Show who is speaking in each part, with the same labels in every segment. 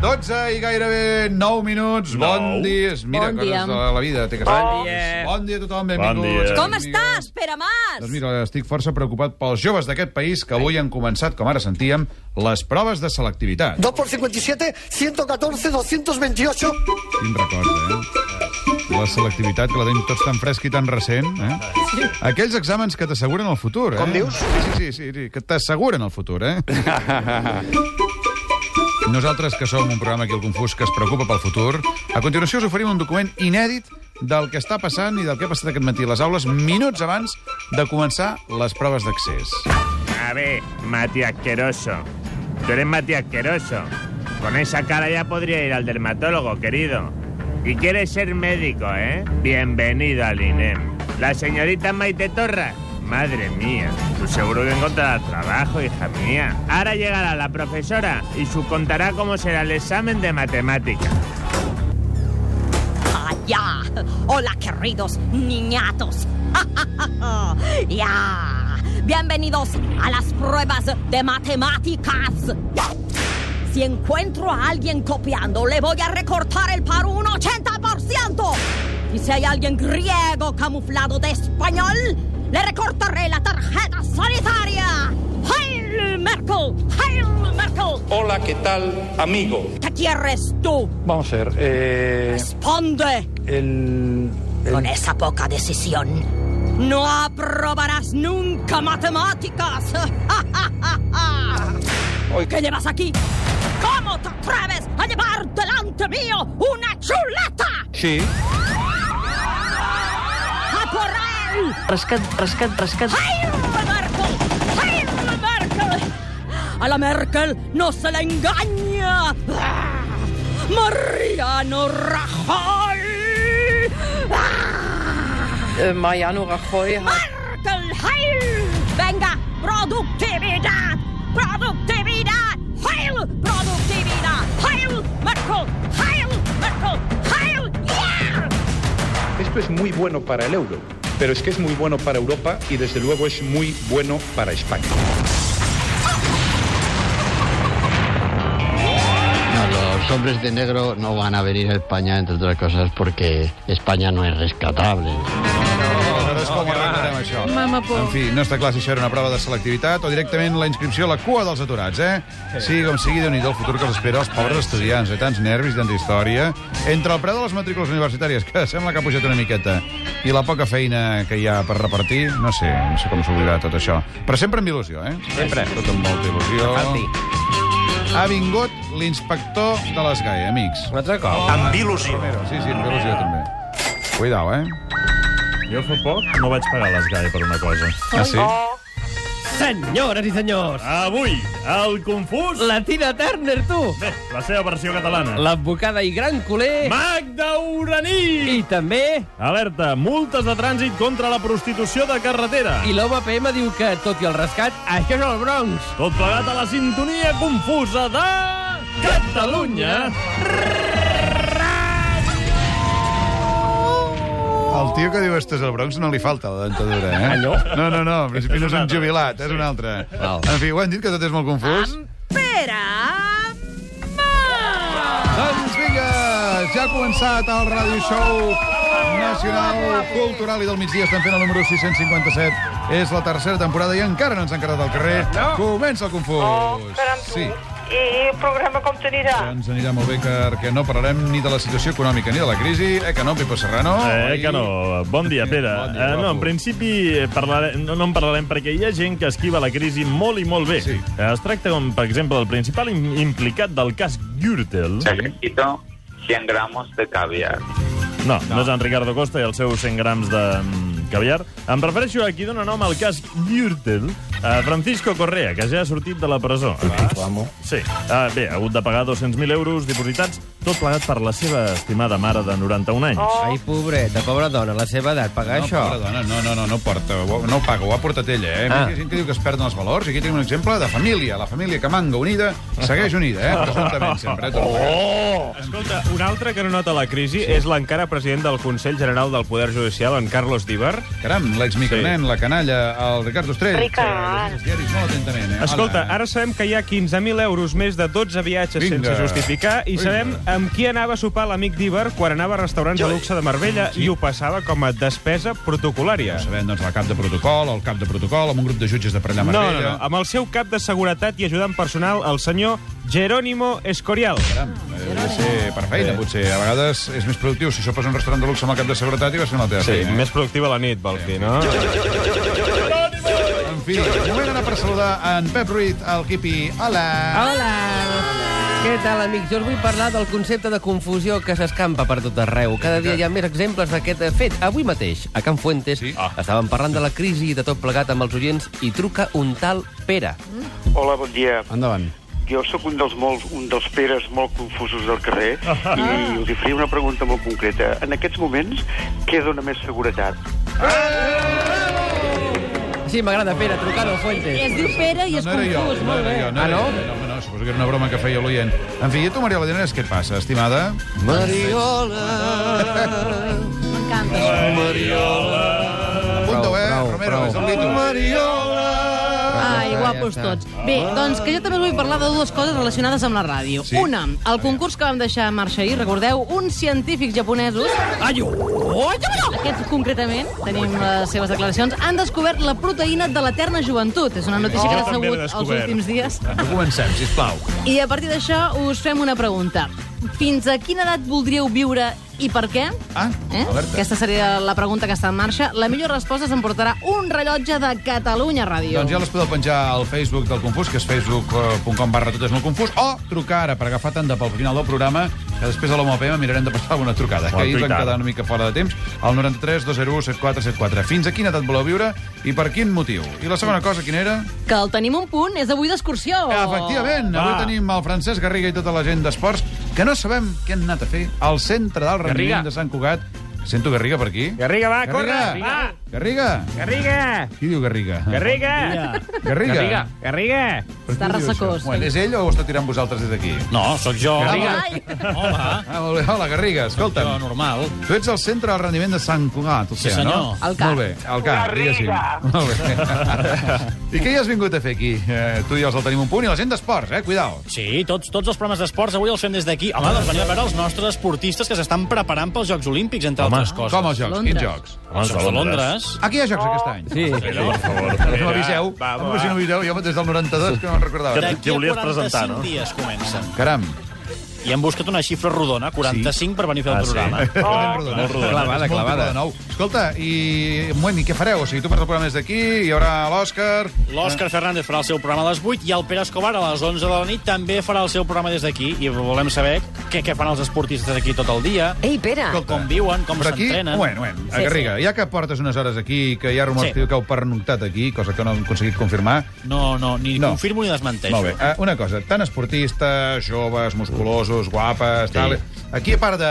Speaker 1: 12 i gairebé 9 minuts. Bon
Speaker 2: Nou.
Speaker 1: dia. Mira,
Speaker 3: Bon
Speaker 1: coses
Speaker 3: dia.
Speaker 1: de la vida, té que ser.
Speaker 2: Bon dia.
Speaker 1: Bon dia a tothom,
Speaker 2: Bon
Speaker 1: benvinguts.
Speaker 2: dia.
Speaker 3: Com
Speaker 1: benvingudes.
Speaker 3: estàs, Pere Mas?
Speaker 1: Doncs mira, estic força preocupat pels joves d'aquest país que avui han començat, com ara sentíem, les proves de selectivitat.
Speaker 4: 2 por 57, 114, 228.
Speaker 1: Quin record, eh? La selectivitat, que la tenim tots tan fresc i tan recent, eh? Aquells exàmens que t'asseguren el futur, eh?
Speaker 4: Com dius?
Speaker 1: Sí, sí, sí, sí que t'asseguren el futur, eh? Nosaltres, que som un programa aquí al Confús que es preocupa pel futur, a continuació us oferim un document inèdit del que està passant i del que ha passat aquest matí a les aules minuts abans de començar les proves d'accés.
Speaker 5: A ver, Mati asqueroso. Tú eres Mati asqueroso. Con esa cara ya podría ir al dermatólogo, querido. Y quieres ser médico, ¿eh? Bienvenido al INEM. La señorita Maite Torra. Madre mía, tú seguro que encontrarás trabajo, hija mía. Ahora llegará la profesora y su contará cómo será el examen de matemáticas.
Speaker 3: Allá. Hola, queridos niñatos. ya. Bienvenidos a las pruebas de matemáticas. Si encuentro a alguien copiando, le voy a recortar el paro un 80%. Y si hay alguien griego camuflado de español, le recortaré la tarjeta sanitaria. ¡Hail Merkel! ¡Hail Merkel!
Speaker 6: Hola, ¿qué tal, amigo?
Speaker 3: ¿Qué quieres tú?
Speaker 7: Vamos a ver. eh,
Speaker 3: Responde.
Speaker 7: el, el-
Speaker 3: Con esa poca decisión, no aprobarás nunca matemáticas. ¿Qué llevas aquí? ¿Cómo te atreves a llevar delante mío una chuleta? Sí. ¡A por él!
Speaker 8: Rescat, rescat, rescat.
Speaker 3: ¡Hail Merkel! ¡Hail Merkel! A la Merkel no se le engaña. ¡Ah! Mariano Rajoy. ¡Ah!
Speaker 8: Eh, Mariano Rajoy hat...
Speaker 3: Merkel, Heil! Venga, productividad! Productividad! Heil! Productividad! Heil! Merkel! Heil! Merkel! Heil! Yeah!
Speaker 9: Esto es muy bueno para el euro, pero es que es muy bueno para Europa y desde luego es muy bueno para España.
Speaker 10: los hombres de negro no van a venir a España, entre otras cosas, porque España no es rescatable.
Speaker 1: Aleshores, com ho arreglarem, això? Mama por. En fi, no està clar si això era una prova de selectivitat o directament la inscripció a la cua dels aturats, eh? Sí, com sigui, déu nhi el futur que els espera als pobres estudiants, de tants nervis, tanta història. Entre el preu de les matrícules universitàries, que sembla que ha pujat una miqueta, i la poca feina que hi ha per repartir, no sé, no sé com s'oblidarà tot això. Però sempre amb il·lusió, eh? Sempre. Tot amb molta il·lusió. Ha vingut l'inspector de les GAE, amics.
Speaker 11: Un altre cop. Amb il·lusió.
Speaker 1: Sí, sí, amb il·lusió també. Cuidao, eh?
Speaker 2: Jo fa poc no vaig pagar les GAE per una cosa.
Speaker 1: Ah, sí?
Speaker 11: Senyores i senyors,
Speaker 2: Avui, el confús...
Speaker 11: la Tina Turner, tu!
Speaker 2: Bé, la seva versió catalana.
Speaker 11: L'advocada i gran culer...
Speaker 2: Magda Uraní!
Speaker 11: I també...
Speaker 2: Alerta, multes de trànsit contra la prostitució de carretera.
Speaker 11: I l'OMPM diu que, tot i el rescat, això és el Bronx.
Speaker 2: Tot plegat a la sintonia confusa de... Catalunya!
Speaker 1: El tio que diu esto és el Bronx no li falta la dentadura, eh?
Speaker 11: no?
Speaker 1: No, no, no, en principi no és un jubilat, és un altre.
Speaker 11: Val.
Speaker 1: En fi, ho han dit que tot és molt confús.
Speaker 3: Pere... Mas!
Speaker 1: Doncs vinga, ja ha començat el Ràdio Show Nacional Cultural i del migdia estem fent el número 657. És la tercera temporada i encara no ens han quedat al carrer. Comença el confús. sí.
Speaker 8: Oh, I el programa com t'anirà?
Speaker 1: Ens anirà molt bé perquè no parlarem ni de la situació econòmica ni de la crisi. Eh que no, Pipo Serrano?
Speaker 2: Eh,
Speaker 1: Oi?
Speaker 2: que no. Bon dia, Pere.
Speaker 1: Bon dia,
Speaker 2: eh, no, en
Speaker 1: guapo.
Speaker 2: principi eh, parlarem, no, no en parlarem perquè hi ha gent que esquiva la crisi molt i molt bé.
Speaker 1: Sí.
Speaker 2: Eh, Es tracta, com, per exemple, del principal im- implicat del cas Gürtel.
Speaker 6: Necesito 100 gramos de caviar.
Speaker 2: No, no, no és en Ricardo Costa i els seus 100 grams de mm, caviar. Em refereixo a qui dona nom al cas Gürtel, a Francisco Correa, que ja ha sortit de la presó.
Speaker 7: Vamos.
Speaker 2: Sí. Ah, bé, ha hagut de pagar 200.000 euros dipositats, tot plegat per la seva estimada mare de 91 anys. Oh.
Speaker 11: Ai, pobreta, pobra dona, la seva edat, pagar
Speaker 1: No,
Speaker 11: això.
Speaker 1: pobra dona, no, no, no, no porta, ho- no ho paga, ho ha portat ella, eh? Ah.
Speaker 11: Ah.
Speaker 1: Hi ha gent que diu que es perden els valors, i aquí tenim un exemple de família, la família que manga unida segueix unida, eh? Presumptament sempre, eh? Oh.
Speaker 5: Escolta, un altre que no nota la crisi sí. és l'encara president del Consell General del Poder Judicial, en Carlos Díbar.
Speaker 1: Caram, l'ex micronen, sí. la canalla, el Ricard Ostrell.
Speaker 8: Ricard.
Speaker 1: Llegeix els diaris molt atentament, eh?
Speaker 2: Escolta, ara sabem que hi ha 15.000 euros més de 12 viatges
Speaker 1: Vinga.
Speaker 2: sense justificar i
Speaker 1: Vinga.
Speaker 2: sabem amb qui anava a sopar l'amic d'Iber quan anava a restaurants de luxe de Marbella i ho passava com a despesa protocolària.
Speaker 1: Hola. Sabem, doncs, la cap de protocol, el cap de protocol, amb un grup de jutges de per allà a
Speaker 2: No, no,
Speaker 1: Marbella.
Speaker 2: no. Amb el seu cap de seguretat i ajudant personal, el senyor Jerónimo Escorial.
Speaker 1: no. Sí, eh, per feina, potser. A vegades és més productiu si sopes a un restaurant de luxe amb el cap de seguretat i vas fent la teva
Speaker 2: Sí,
Speaker 1: feina. eh?
Speaker 2: més productiva la nit, vols dir, no?
Speaker 1: En fi, moment anar per saludar en Pep Ruiz, el quipi. Hola.
Speaker 11: Hola! Què tal, amics? Jo us vull parlar del concepte de confusió que s'escampa per tot arreu. Cada dia hi ha més exemples d'aquest fet. Avui mateix, a Can Fuentes, sí. estàvem parlant de la crisi i de tot plegat amb els oients i truca un tal Pere.
Speaker 12: Hola, bon dia.
Speaker 13: Endavant.
Speaker 12: Jo sóc un dels, molts, un dels peres molt confusos del carrer i us hi faria una pregunta molt concreta. En aquests moments, què dona més seguretat?
Speaker 11: Sí, m'agrada, Pere, trucar-ho a Fuentes.
Speaker 3: Es diu Pere i
Speaker 1: No,
Speaker 3: és
Speaker 1: no era jo,
Speaker 3: confús,
Speaker 1: no
Speaker 3: molt
Speaker 1: era
Speaker 3: bé.
Speaker 1: jo, no era jo. Ah, No, home, no, suposo que era una broma que feia l'oient. En fi, i a tu, Mariola Dinerès, què et passa, estimada?
Speaker 3: Mariola. M'encanta. això.
Speaker 1: Apunta-ho, eh, Romero, és el Lito.
Speaker 3: Ai, guapos tots. Bé, doncs que jo també us vull parlar de dues coses relacionades amb la ràdio.
Speaker 1: Sí.
Speaker 3: Una, el concurs que vam deixar en marxa ahir, recordeu, uns científics japonesos... Ai, Aquests, concretament, tenim les seves declaracions, han descobert la proteïna de l'eterna joventut. És una notícia
Speaker 1: Oh,
Speaker 3: que
Speaker 1: jo
Speaker 3: ha
Speaker 1: també l'he
Speaker 3: sabut els
Speaker 1: descobert.
Speaker 3: últims dies.
Speaker 1: No comencem, sisplau.
Speaker 3: I a partir d'això us fem una pregunta. Fins a quina edat voldríeu viure i per què?
Speaker 1: Ah,
Speaker 3: eh?
Speaker 1: Alerta.
Speaker 3: Aquesta seria la pregunta que està en marxa. La millor resposta s'emportarà un rellotge de Catalunya Ràdio.
Speaker 1: Doncs ja les podeu penjar al Facebook del Confús, que és facebook.com barra tot és molt confús, o trucar ara per agafar tanda pel final del programa, que després a l'Home OPM mirarem de passar alguna trucada,
Speaker 14: Ho
Speaker 1: que ahir van
Speaker 14: tuitar.
Speaker 1: quedar una mica fora de temps, al 93 201 7474. Fins a quina edat voleu viure i per quin motiu? I la segona cosa, quina era?
Speaker 3: Que el tenim un punt és avui d'excursió.
Speaker 1: Efectivament, avui tenim el Francesc Garriga i tota la gent d'esports, que no sabem què han anat a fer al centre del rendiment
Speaker 15: Garriga.
Speaker 1: de Sant Cugat. Sento Garriga per aquí.
Speaker 15: Garriga, va,
Speaker 1: Garriga.
Speaker 15: corre! Va!
Speaker 1: Garriga!
Speaker 15: Garriga!
Speaker 1: Qui diu Garriga?
Speaker 15: Garriga!
Speaker 1: Garriga. Garriga.
Speaker 15: Garriga!
Speaker 1: Està ressecós. Bueno, és ell o ho està tirant vosaltres des d'aquí?
Speaker 16: No, sóc jo.
Speaker 1: Hola. Ah, molt bé. Hola, Garriga, escolta'm.
Speaker 16: Jo, normal.
Speaker 1: Tu ets el centre del rendiment de Sant Cugat, o sigui,
Speaker 16: senyor.
Speaker 1: no?
Speaker 16: El cap.
Speaker 1: Molt bé, el cap, diguéssim. Molt bé. I què hi has vingut a fer aquí? Eh, tu i els el tenim un punt, i la gent d'esports, eh? Cuidao.
Speaker 16: Sí, tots, tots els programes d'esports avui els fem des d'aquí. Home, doncs venim a veure els nostres esportistes que s'estan preparant pels Jocs Olímpics, entre
Speaker 1: Home,
Speaker 16: altres coses.
Speaker 1: com els Jocs? Quins Londres. Jocs?
Speaker 16: Home, els Jocs de Londres.
Speaker 1: Aquí hi ha jocs aquest any.
Speaker 16: Sí. Sí, per favor.
Speaker 1: No m'aviseu.
Speaker 16: Va, va,
Speaker 1: No, si no m'aviseu, jo des del 92 que no me'n recordava.
Speaker 16: D'aquí a 45 dies comencen.
Speaker 1: Caram.
Speaker 16: I hem buscat una xifra rodona, 45, per venir a fer el programa. Oh. Molt rodona.
Speaker 1: Clavada,
Speaker 16: Molt
Speaker 1: clavada.
Speaker 16: rodona.
Speaker 1: Nou. Escolta, i, bueno, i què fareu? O sigui, tu fas el programa des d'aquí, hi haurà l'Òscar...
Speaker 16: L'Òscar Fernández farà el seu programa a les 8 i el Pere Escobar a les 11 de la nit també farà el seu programa des d'aquí i volem saber què, què fan els esportistes aquí tot el dia.
Speaker 17: Ei,
Speaker 3: Ah.
Speaker 17: Pere!
Speaker 16: Com, com viuen, com
Speaker 1: Però aquí,
Speaker 16: s'entrenen.
Speaker 1: bueno, bueno, a Garriga, ja que portes unes hores aquí, que hi ha rumors
Speaker 16: Sí.
Speaker 1: sí. que heu pernoctat aquí, cosa que no hem aconseguit confirmar...
Speaker 16: No, no, ni
Speaker 1: No.
Speaker 16: no. confirmo ni desmenteixo.
Speaker 1: Molt bé. Ah, una cosa, tant esportistes, joves, musculosos, guapes, sí. tal... Aquí, a part de,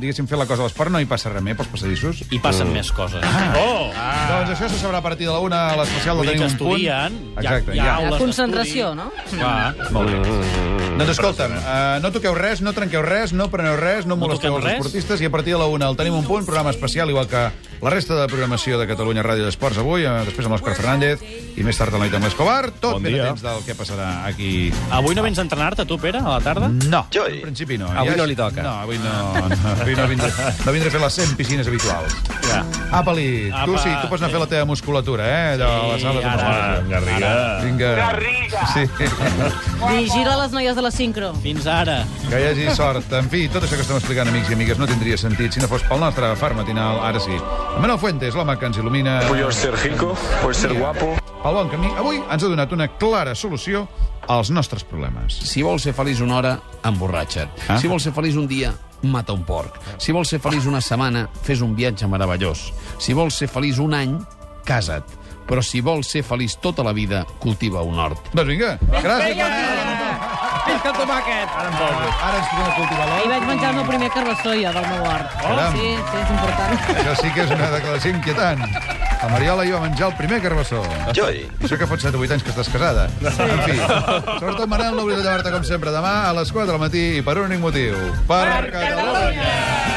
Speaker 1: diguéssim, fer la cosa a l'esport, no hi passa res més pels passadissos?
Speaker 16: Hi passen més coses.
Speaker 1: Ah.
Speaker 16: Oh! Ah.
Speaker 1: Doncs això se sabrà a partir de la una, a l'especial
Speaker 16: Vull
Speaker 1: de
Speaker 16: dir
Speaker 1: tenir
Speaker 16: que
Speaker 1: un punt.
Speaker 16: estudien, hi ha-
Speaker 1: Exacte,
Speaker 16: hi ha
Speaker 3: La concentració, no?
Speaker 16: Clar.
Speaker 1: Molt bé.
Speaker 16: Mm.
Speaker 1: Doncs escolta'm, uh, no toqueu res, no trenqueu res, no preneu res, no molesteu
Speaker 16: toquem
Speaker 1: els
Speaker 16: res.
Speaker 1: esportistes i a partir de la una el tenim un punt, programa especial, igual que la resta de programació de Catalunya Ràdio d'Esports avui, eh, després amb l'Òscar Fernández i més tard a la nit amb l'Escobar. Tot
Speaker 16: Bon
Speaker 1: ben
Speaker 16: dia.
Speaker 1: atents del que passarà aquí.
Speaker 16: Avui no vens a entrenar-te, tu, Pere, a la tarda?
Speaker 1: No, en principi no.
Speaker 16: Avui
Speaker 1: Ja és-
Speaker 16: no li toca.
Speaker 1: No, avui no. no avui no vindré, no vindré a fer les 100 piscines habituals.
Speaker 16: Ja.
Speaker 1: Apa, Lit, tu
Speaker 16: Apa.
Speaker 1: sí, tu pots anar a fer la teva musculatura, eh? Allò, a la sala de
Speaker 16: ara.
Speaker 1: musculatura.
Speaker 16: Garriga.
Speaker 1: Vinga.
Speaker 16: Garriga.
Speaker 1: Sí.
Speaker 3: Vigila les noies de la sincro.
Speaker 16: Fins ara.
Speaker 1: Que hi hagi sort. En fi, tot això que estem explicant, amics i amigues, no tindria sentit si no fos pel nostre far matinal, ara sí. En Manuel Fuentes, l'home que ens il·lumina...
Speaker 18: Puedo ser rico, puedo ser guapo.
Speaker 1: Pel bon camí, avui ens ha donat una clara solució als nostres problemes.
Speaker 19: Si vols ser feliç una hora, emborratxa't. Ah? Si vols ser feliç un dia, mata un porc. Si vols ser feliç una setmana, fes un viatge meravellós. Si vols ser feliç un any, casa't. Però si vols ser feliç tota la vida, cultiva un hort.
Speaker 1: Doncs vinga, gràcies.
Speaker 11: Fins que el tomàquet!
Speaker 1: Ara, ara ens podem cultivar
Speaker 3: Ahir
Speaker 1: l'or.
Speaker 3: vaig menjar el meu primer carabassoia del meu hort.
Speaker 1: Caram.
Speaker 3: Sí, sí, és important.
Speaker 1: Això sí que és una declaració inquietant. La Mariola i va menjar el primer carbassó. Joi. Això que fot 7 o 8 anys que estàs casada. Sí. En fi, sobretot, Manel, no oblidis de llevar-te com sempre demà a les 4 del matí i per un únic motiu. Per, Catalunya!